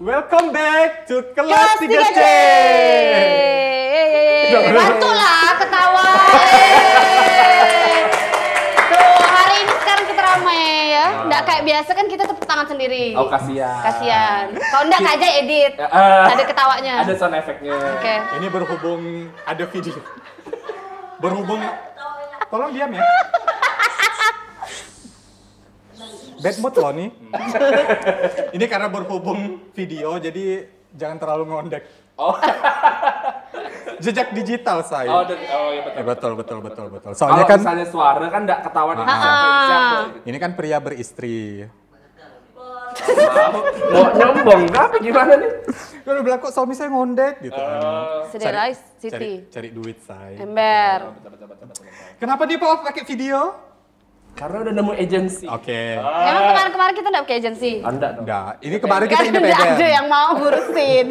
Welcome back to kelas Kelas 3C. 3 C. Bantu lah ketawa. Eh. Tuh, hari ini sekarang kita ramai ya. Nggak kayak biasa kan kita tepuk tangan sendiri. Oh, kasihan. Kasihan. Kalau nggak Iya. Kak Jai edit. Ya, eh, Ada ketawanya. Ada sound efeknya. Oke. Ini berhubung ada video. Berhubung Tolong diam ya. Bad mood loh nih. Hmm. Ini karena berhubung video jadi jangan terlalu ngondek. Oh. Jejak digital saya. Oh, dan- oh ya Eh, betul. betul betul betul betul. Kalau Soalnya kan misalnya suara kan enggak ketahuan ini Ah. siapa ini siapa. gitu. ini kan pria beristri. Mau nyombong kah apa gimana nih? Kalau bilang kok suami saya ngondek gitu. Oh. Sederhana Cari, City. cari duit saya. Ember. Bentar, bentar, bentar, bentar, bentar. Kenapa dia bawa pakai video? Karena udah nemu agensi. Oke. Emang kemarin-kemarin kita nggak pakai agensi? Anda dong. Nah, ini kemarin kita Kan nggak independen. ada yang mau ngurusin.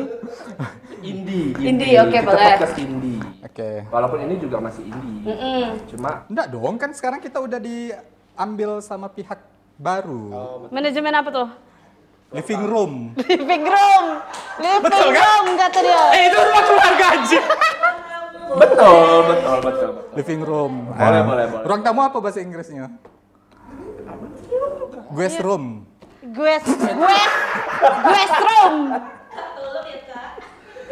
Indie. Indie, oke, Kita boleh. podcast indie. Oke. Walaupun ini juga masih indie. Cuma Enggak dong, kan sekarang kita udah diambil sama pihak baru. Oh. Manajemen apa tuh? Living room. Living room. Living Betul, kan? room kata dia. Eh, itu rumah keluarga aja. betul, betul, betul, betul. Living room. Boleh, Ah. boleh, boleh. Ruang tamu apa bahasa Inggrisnya? Guest Iya. room. Gue gue gue room.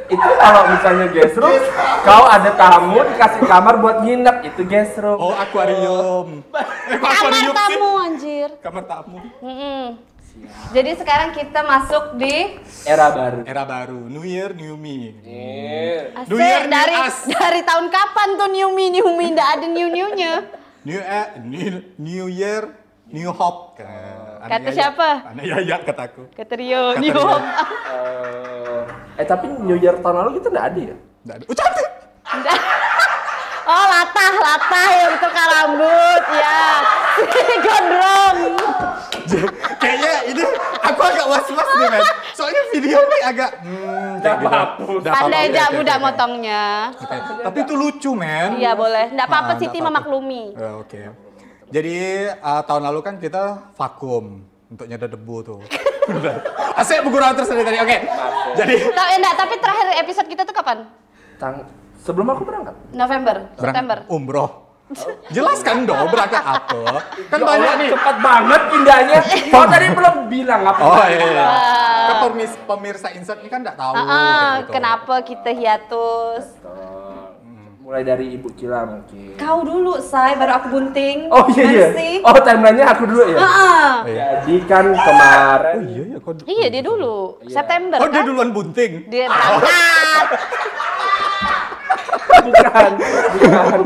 Itu kalau misalnya guest room, kau ada tamu dikasih kamar buat nginep, itu guest room. Oh, akuarium. Eh, kok Kamar akuarium sih? tamu anjir. Kamar tamu. Mm-mm. Jadi sekarang kita masuk di Era baru. Era baru, new year, new me. Iya. New year, Asik, new dari us. dari tahun kapan tuh new me new me ndak ada new newnya. New eh, new, new year, new Oh. hope. Kan. Kata Aneh aja. siapa? Aneh ya, kataku. Kata Rio, Kata new Rio. hope. Eh tapi New Year tahun lalu kita nggak ada ya? Nggak ada. Oh, cantik. Ndak. Oh latah latah ya betul kak rambut ya. Gondrong. Kayaknya ini aku agak was-was nih, men. Soalnya video ini agak hmm, kayak Dah gitu. babus. Dah Anda babus, aja oke, muda oke, oke. motongnya. Oke, Tapi itu lucu, men. Iya boleh, ndak apa-apa Ah, Siti nggak apa-apa. memaklumi. Eh, Oke. Jadi eh, tahun lalu kan kita vakum untuk nyedot debu tuh. Asik bergurau terus dari tadi. Oke. Jadi Tapi enggak, eh, tapi terakhir episode kita tuh kapan? Tang sebelum aku berangkat. November, September. berangkat umroh. Jelaskan dong berangkat apa. Kan Ya banyak Allah, nih. Cepet banget pindahnya. Kau tadi belum bilang apa? Oh iya. iya. Kan pemirsa, pemirsa Insert ini kan nggak tahu. Ah, ah, kayak gitu. kenapa kita hiatus? Betul. Mulai dari Ibu Cila mungkin. Kau dulu, Say, baru aku bunting. Oh iya iya. Nanti. Oh timelinenya aku dulu ya. Ah. Oh, iya. Jadi kan kemarin. Oh iya ya. Kok... Iya, dia dulu. September Oh kan? dia duluan bunting. Dia berangkat. iya. Bukan. Bukan.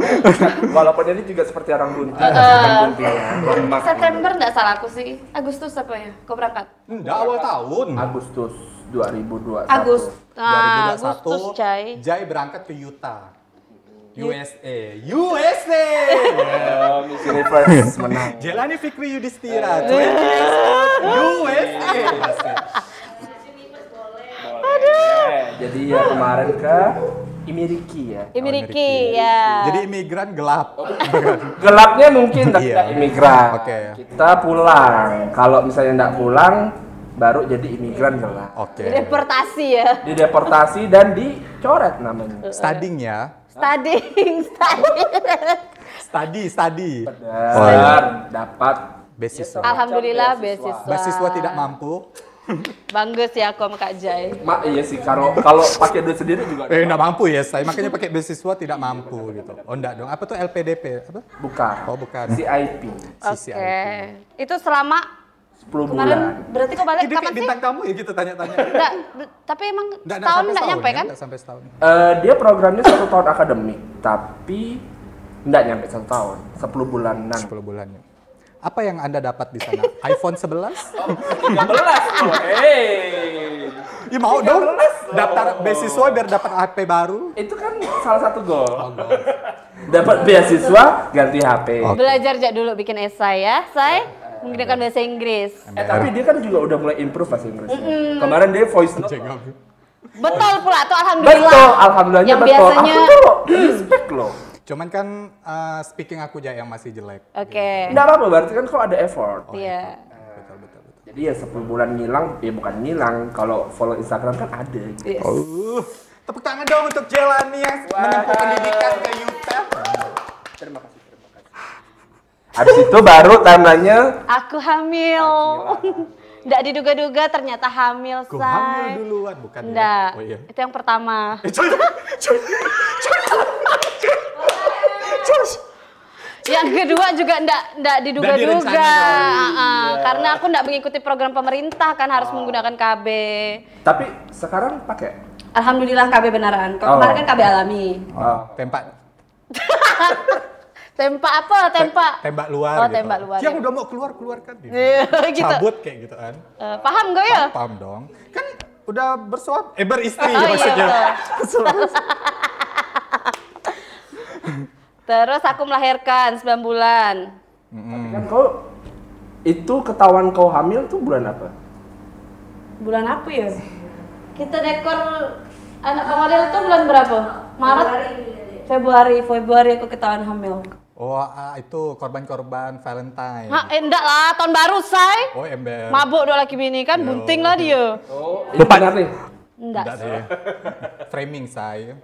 Walaupun ini juga seperti orang bunting. Ah. Bukan bunting. ya. Lemak. September enggak salah aku sih. Agustus apa ya? Kau berangkat? Enggak awal tahun. Agustus 2021. Agus. Ah, 2021. Agustus, Cai. Iya. Jai berangkat ke Utah. USA. USA. Oh, Miss Universe menang. Jelani Fikri Eh. Yudhistira. 20 years old. USA. Asik. Eh, Jadi ya kemarin ke Imiriki ya. Imiriki, ya. Jadi imigran gelap. Gelapnya mungkin tapi Iya. nggak imigran. Oke. Kita pulang. Kalau misalnya nggak pulang, baru jadi imigran gelap. Oke. deportasi ya. Dideportasi dan dicoret namanya. Studying ya. Studying, studying. Study, study. Dan Oh, iya. dapat Beasiswa. semacam Alhamdulillah, beasiswa. Mahasiswa tidak mampu. Bagus ya aku sama Kak Jai. Mak iya sih kalau kalau pakai duit sendiri juga Eh, enggak mampu ya, saya makanya pakai beasiswa tidak mampu gitu. Oh, enggak dong. Apa tuh LPDP? Apa? bukan. Oh, bukan. CIP Oke. CCIP. Itu selama 10 kemarin bulan. berarti kau balik Ini kayak kapan sih? bintang tamu ya gitu tanya-tanya. Nggak, be- tapi emang Nggak- nggak setahun sampai enggak nyampe setahun ya, kan? nggak sampai setahun. Eh, dia programnya satu tahun akademik, tapi nggak nyampe satu tahun, 10 bulanan. 10 bulan ya. Apa yang Anda dapat di sana? iPhone 11? 13 loh, hey. Ya mau dong. 13. Daftar beasiswa biar dapat HP baru. Itu kan salah satu goal. Oh, Dapat beasiswa, ganti Eh, HP. Oke. Eh, Belajar aja dulu bikin esai ya, saya menggunakan bahasa Inggris. Eh, tapi dia kan juga udah mulai improve bahasa Inggrisnya. Kemarin dia voice note. Betul pula tuh alhamdulillah. Betul, alhamdulillahnya Yang betul. biasanya- Hmm. Aku tuh respect loh. Cuman kan eh, speaking aku aja yang masih jelek. Oke. Oh. Nggak apa-apa, berarti kan kok ada effort. Iya. Betul betul betul. Jadi ya 10 bulan ngilang, ya bukan ngilang, kalau follow Instagram kan ada. gitu. Yes. Uh, tepuk tangan dong untuk Jelani yang menempuh pendidikan ke UTEP. Terima kasih, terima kasih. Habis itu baru tandanya Aku hamil. Nggak diduga-duga ternyata hamil, Gue say. hamil duluan bukan? ya? Nggak. Oh iya. Itu yang pertama. Eh, coy, coy, coy, coy. Yang kedua juga ndak ndak diduga-duga. direncanakan. Iya. Ah, ah. Karena aku ndak mengikuti program pemerintah kan Oh. harus menggunakan KB. tapi sekarang pakai Ah, Alhamdulillah KB beneran. Kalau Oh. kemarin kan KB alami. Oh, tembak Tempak apa? Tempak. tembak luar Oh, gitu. tembak luar. Yang udah mau keluar keluarkan gitu. Iya, gitu. Cabut kayak gitu kan. Eh, paham gak ya? Paham dong. Kan udah bersuap, eh beristri Oh, iya, maksudnya. Terus aku melahirkan 9 bulan. Tapi Hmm. kan kau itu ketahuan kau hamil tuh bulan apa? Bulan apa ya? Kita dekor anak pemodel tuh bulan berapa? Maret? Februari, Februari aku ketahuan hamil. Oh, ah, itu korban-korban Valentine. Hah, eh, enggak lah, tahun baru say. Oh, ember. Mabuk dua laki bini kan, bunting lah dia. Oh, ini benar nih. Enggak. Enggak sih. Framing saya.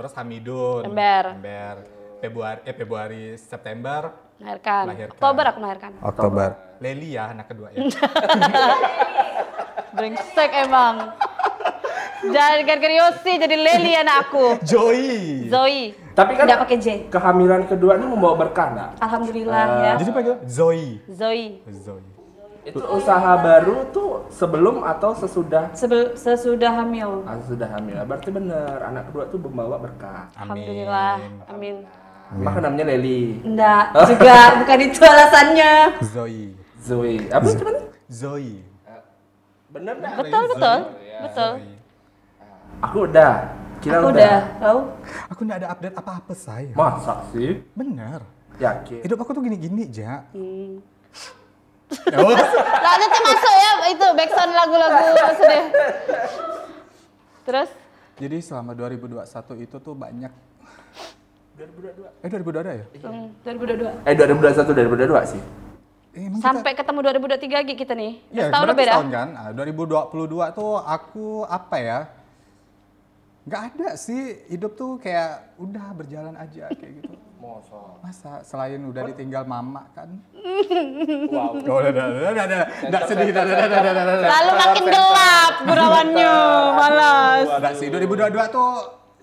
Terus Hamidun. Ember. Ember. Februari, eh Februari, September, Melahirkan. Melahirkan. Oktober aku melahirkan. Oktober. Leli ya anak kedua ya. Brengsek emang. Jangan gara-gara Yosi jadi Leli anak aku. Joy. Zoe. Tapi kan- enggak pakai J. Kehamilan kedua ini membawa berkah nggak? Alhamdulillah ya. Jadi panggil Zoe. Zoe. Zoe. Itu usaha baru tuh sebelum atau sesudah Sebel- sesudah hamil. Ah, sesudah hamil. Berarti benar anak kedua tuh membawa berkah. Alhamdulillah. Amin. Amin. Maka namanya Leli, Enggak, juga bukan itu alasannya. Zoe. Zoe. Apa sih cuman? Zoe. Bener nggak? Betul, Iya, betul. Betul. Aku udah. Kira Aku udah, tahu? Aku nggak ada update apa-apa saya. Masa sih? Bener. Yakin. Hidup aku tuh gini-gini, Ja. Lanjutnya masuk ya itu backsound lagu-lagu sudah. Terus Jadi selama 2021 itu tuh banyak 2022. Eh 2022 Iya. ya? Hmm, 2022. Eh 2021 2022 sih. Eh, emang kita- sampai ketemu 2023 lagi kita nih. Iya, Setahun berarti beda. setahun kan. Ah, 2022 tuh aku apa ya? Nggak ada sih, hidup tuh kayak udah berjalan aja kayak gitu. Masa. Masa selain udah ditinggal mama kan? Wow. Oh, udah, udah, udah, udah, udah, Nggak sedih, udah, udah, udah, udah, udah, udah. Lalu makin gelap gurawannya, malas. Nggak sih, 2022 tuh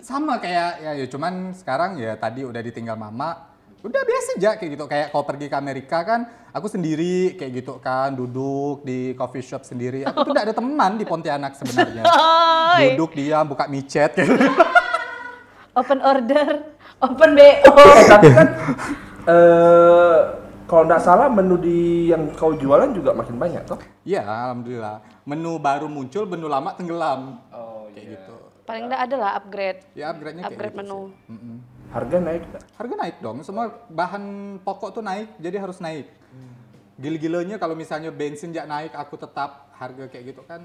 sama kayak ya, ya cuman sekarang ya tadi udah ditinggal mama udah biasa aja kayak gitu kayak kalau pergi ke Amerika kan aku sendiri kayak gitu kan duduk di coffee shop sendiri aku tuh nggak ada teman di Pontianak sebenarnya Oi. duduk diam buka micet kayak gitu. Open order, open BO. Eh, tapi kan eh kalau nggak salah menu di yang kau jualan juga makin banyak toh. Iya, alhamdulillah. Menu baru muncul, menu lama tenggelam. Oh, kayak gitu. Paling enggak ada lah upgrade. Ya upgrade-nya kayak Upgrade gitu menu. sih. Mm-mm. Harga naik nggak? Harga naik dong. Semua bahan pokok tuh naik, jadi harus naik. Gila-gilanya kalau misalnya bensin nggak naik, aku tetap harga kayak gitu kan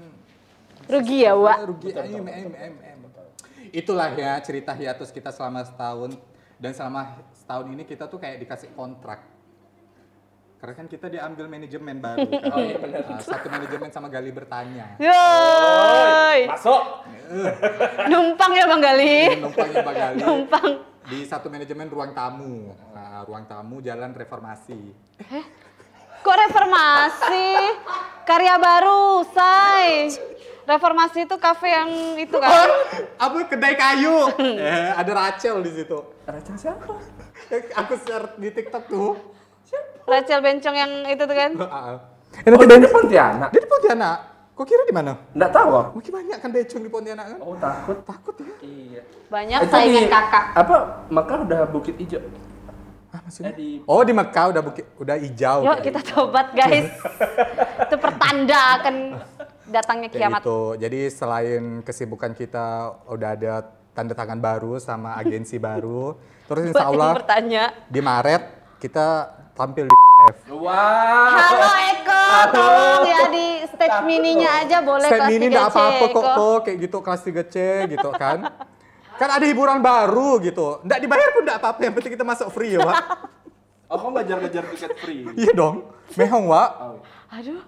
Rugi ya, Wak. eh, rugi. Em, em, em, em. Itulah ya cerita hiatus kita selama setahun dan selama setahun ini kita tuh kayak dikasih kontrak. Karena kan kita diambil manajemen baru. kan. Nah, Satu manajemen sama Gali bertanya. Yoi. Masuk. Numpang ya Bang Gali. Numpangnya Pak ya Gali. Numpang. di satu manajemen ruang tamu Nah, ruang tamu jalan reformasi Kok reformasi? Karya baru, say. Reformasi itu kafe yang itu kan. apa kedai kayu eh, ada Rachel di situ Raja siapa? Eh, aku share di TikTok tuh Rachel Bencong yang itu tuh kan. eh, Oh, dia di Pontianak. dia di Pontianak kok kira di mana Nggak tahu aku. mungkin banyak kan becung di Pontianak kan Oh takut. takut ya Iya. Banyak saingan kakak. Apa? Maka udah Bukit Ijo. ah, maksudnya Eh, di- oh di Mekah udah buki, udah hijau Yuk kita tobat guys. itu pertanda akan datangnya Kayak kiamat. gitu. Jadi selain kesibukan kita udah ada tanda tangan baru sama agensi baru, terus insya Buat yang Allah bertanya. di Maret kita tampil di F. Wah. Halo Eko, tolong ya di stage mininya aja boleh Stand kelas ini 3 enggak C apa-apa kok, Eko. kok kayak gitu kelas 3C gitu kan. kan ada hiburan baru gitu. Enggak dibayar pun enggak apa-apa, yang penting kita masuk free ya, Wak. Oh, kau ngejar-ngejar tiket free. iya dong. Mehong, Wak. Aduh,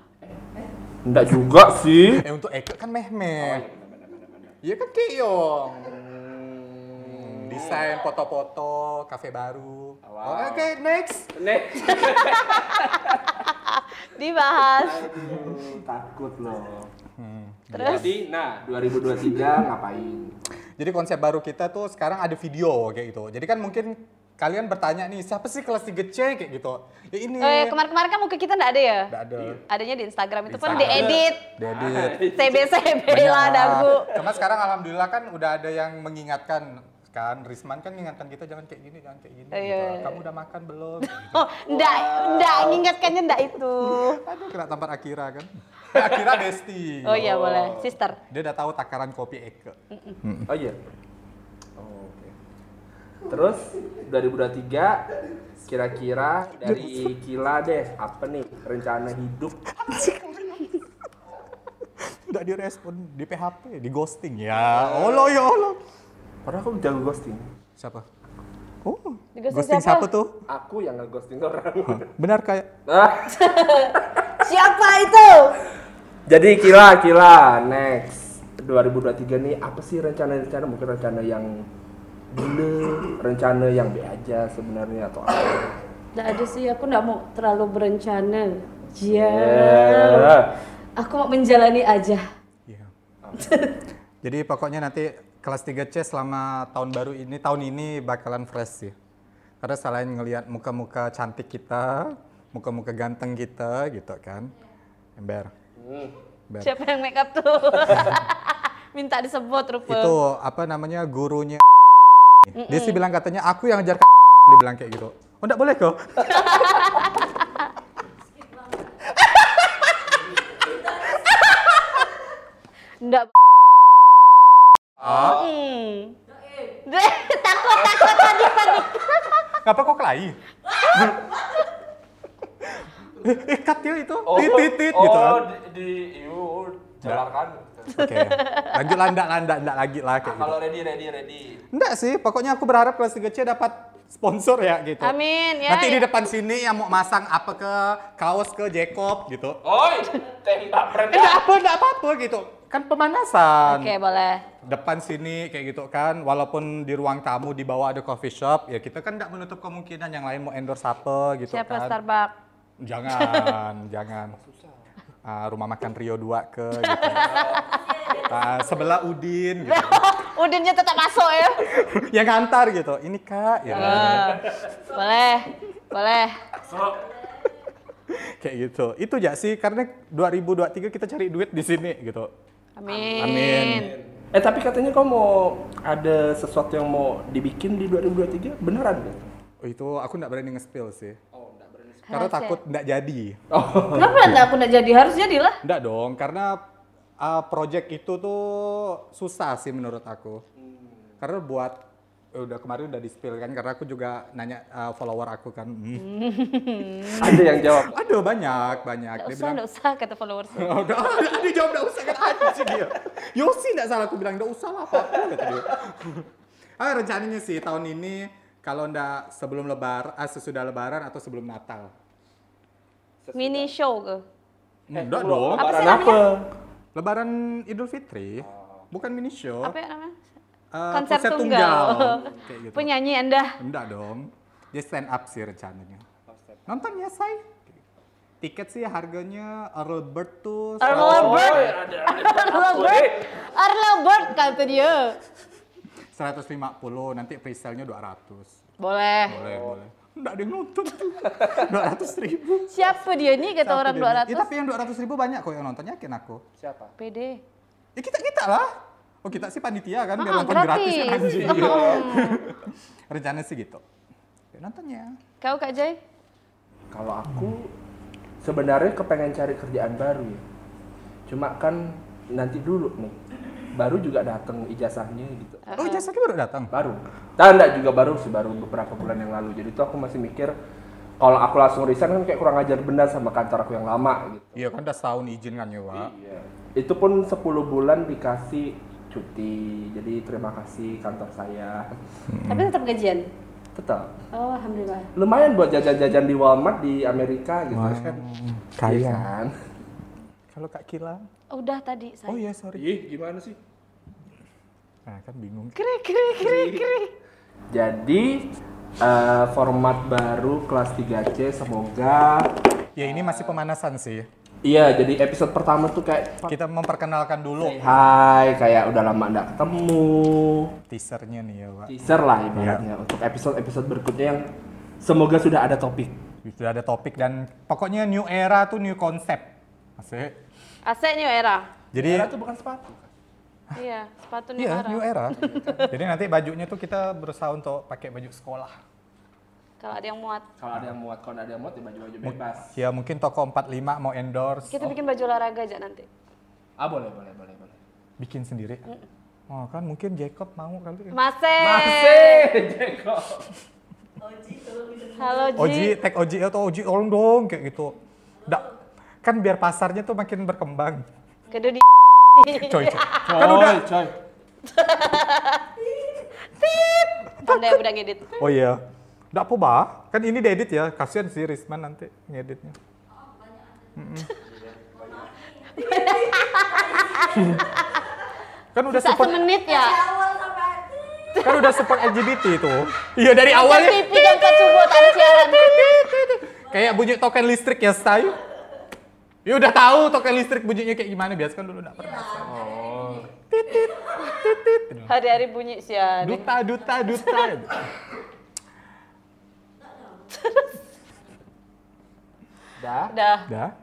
Enggak juga sih. Eh untuk Eke kan Mehmet. Iya kan Keong. Desain foto-foto, kafe baru. Wow. Oke, next. Nek, Iya. Dibahas. aduh, Hmm, takut loh. Terus? Jadi, nah 2023 ngapain? Jadi konsep baru kita tuh sekarang ada video kayak gitu. Jadi kan mungkin kalian bertanya nih, siapa sih kelas 3 C kayak gitu? Ya ini. Eh, kemarin-kemarin kan muka kita nggak ada ya? Nggak ada. Adanya di Instagram itu pun Instagram. diedit. Dedit. CB-CB Banyak. lah dagu. Cuma sekarang alhamdulillah kan udah ada yang mengingatkan kan Risman kan mengingatkan kita jangan kayak gini, jangan kayak gini. Iya, gitu. iya, iya. Kamu udah makan belum? Gitu. Oh, ndak, ndak, ngingatkannya ndak itu. Aduh kena tampar Akira kan. Akira Besti. Oh iya Mm. boleh, sister. Dia udah tahu takaran kopi Eke. Oh iya. Oh, Oke. Terus 2023 kira-kira dari Kila deh apa nih rencana hidup? Udah direspon di PHP, di ghosting ya. Oh. Olo ya Allah. Padahal aku jago ghosting. Siapa? Oh, Di ghosting ghosting siapa? siapa? tuh? Aku yang ngeghosting orang. Benar kayak Ah, Siapa itu? Jadi Kila, Kila next 2023 nih apa sih rencana-rencana mungkin rencana yang gila, rencana yang be aja sebenarnya atau apa? Nggak ada sih, aku nggak mau terlalu berencana. Iya. Eh. Yeah. Aku mau menjalani aja. Iya. Jadi pokoknya nanti kelas 3C selama tahun baru ini, tahun ini bakalan fresh sih. Karena selain ngelihat muka-muka cantik kita, muka-muka ganteng kita gitu kan. Ember. Ember. Siapa yang make up tuh? Minta disebut rupa. Itu apa namanya gurunya Dia sih bilang katanya aku yang ajar dia bilang kayak gitu. Oh enggak boleh kok. Ndak. Ah? Hmm. takut, takut tadi panik. Ngapa kok kelahi? Eh, eh, cut yuk itu. Oh. Tit, tit, tit, gitu kan. di, di iu jalankan. Oke. Lanjut lah, ndak, lah, ndak, ndak lagi lah kayak gitu. ready ready ready. Enggak sih, pokoknya aku berharap kelas 3C dapat sponsor ya gitu. Amin, ya, Nanti di ya. depan sini yang mau masang apa ke kaos ke Jacob gitu. Oi, tembak Eh, enggak apa, enggak apa-apa gitu. Kan pemanasan. Oke, boleh. Depan sini kayak gitu kan, walaupun di ruang tamu di bawah ada coffee shop, ya kita kan enggak menutup kemungkinan yang lain mau endorse apa gitu kan. Siapa Starbucks? Jangan, jangan. Ah, rumah makan Rio 2 ke gitu. Ah, sebelah Udin gitu. Udinnya tetap masuk ya. yang ngantar gitu. Ini Kak ya. Ah. boleh, boleh. kayak gitu. Itu ya sih karena 2023 kita cari duit di sini gitu. Amin. Amin. Eh tapi katanya kau mau ada sesuatu yang mau dibikin di 2023 beneran kan? Oh, itu aku nggak berani nge-spill sih. Karena takut nggak jadi. Oh, Kenapa nggak aku nggak jadi? Harus jadilah. Nggak dong, karena uh, project itu tuh susah sih menurut aku. Karena buat eh, udah kemarin udah di-spill kan karena aku juga nanya uh, follower aku kan. Hmm. Ada yang jawab. Aduh banyak, banyak. Nggak Dia usah, bilang nggak usah kata followers. Oh, udah, oh, udah, dia jawab nggak usah kan anjing dia. Yosi nggak salah aku bilang nggak usah lah apa kata dia. Ah rencananya sih tahun ini kalau ndak sebelum lebar, ah, sesudah lebaran atau sebelum Natal. Mini show ke? Enggak dong. Eh, Apa sih Lebaran namanya? apa? Lebaran Idul Fitri, bukan mini show. Oh. Apa ya namanya? Eh, Konser konser tunggal. Kayak gitu. Penyanyi Anda. Enggak dong. Dia stand up sih rencananya. Oh, Nonton ya, say. Tiket sih harganya Earl Bird tuh Earl Bird. ada Earl Bird. Earl Bird kata dia. 150, nanti presale-nya 200. Boleh. Boleh, boleh. Enggak ada yang nonton tuh. 200 ribu. Siapa dia nih kata orang Ya, 200? tapi yang 200 ribu banyak kok yang nonton, yakin aku. Siapa? PD. Ya kita-kita lah. Oh kita sih panitia kan, biar Ah, nonton gratis, kan anjing. Rencana sih gitu. Ya, nontonnya. Kau Kak Jai? Kalau aku sebenarnya kepengen cari kerjaan baru ya. Cuma kan nanti dulu nih. Baru juga datang ijazahnya gitu. Ah, Oh jasanya baru datang? Baru. Nah, enggak juga baru sih, baru beberapa bulan yang lalu. Jadi tuh aku masih mikir kalau aku langsung resign kan kayak kurang ajar benar sama kantor aku yang lama gitu. Iya kan udah setahun izin kan ya, Wak. Itu pun 10 bulan dikasih cuti. Jadi terima kasih kantor saya. Tapi tetap gajian. Tetap Oh, alhamdulillah. lumayan buat jajan-jajan di Walmart di Amerika gitu kan. Kaya. Iya kan? Kalau Kak Kila, Udah tadi saya. oh iya sorry. Ih, gimana sih? Nah kan bingung. Krik krik krik krik. iya. Jadi eh, format baru kelas 3C semoga Ya ini Ah. masih pemanasan sih. Iya, jadi episode pertama tuh kayak Kita memperkenalkan dulu Hai, kayak udah lama nggak ketemu. teasernya nih ya, Pak. Teaser lah ibaratnya untuk episode-episode berikutnya yang semoga sudah ada topik. Sudah ada topik dan pokoknya new era tuh new konsep. Masih. Asik new era. Jadi Itu bukan sepatu. Iya, sepatu new iya era. new era. Jadi nanti bajunya tuh kita berusaha untuk pakai baju sekolah. Kalau ada yang muat, Kalau ada yang muat, kalau nggak ada yang muat ya baju-baju bebas. Ya mungkin toko 45 mau endorse kita bikin baju olahraga aja nanti. Ah, boleh, boleh, boleh, boleh. bikin sendiri. Oh kan mungkin Jacob mau kali. ya. Masih. Masih, Jeko. Halo Ji. Oji, tag Oji ya, atau Oji tolong dong kayak gitu. Nggak- kan biar pasarnya tuh makin berkembang. Kedua di. Coy, Iya. coy. Kan udah, coy. Pandai udah ngedit. Oh iya. Enggak apa bah. Kan ini diedit ya. Kasihan sih Risman nanti ngeditnya. Mm-mm. kan udah Sisa support semenit ya. kan udah support LGBT itu. Iya dari Awalnya awalnya pipi dan kecubut ada siaran. kayak bunyi token listrik ya stay. Ya udah tahu token listrik bunyinya kayak gimana biasa kan dulu enggak pernah. Hari-hari bunyi ya. sian. Duta duta duta. Dah. Udah. Dah.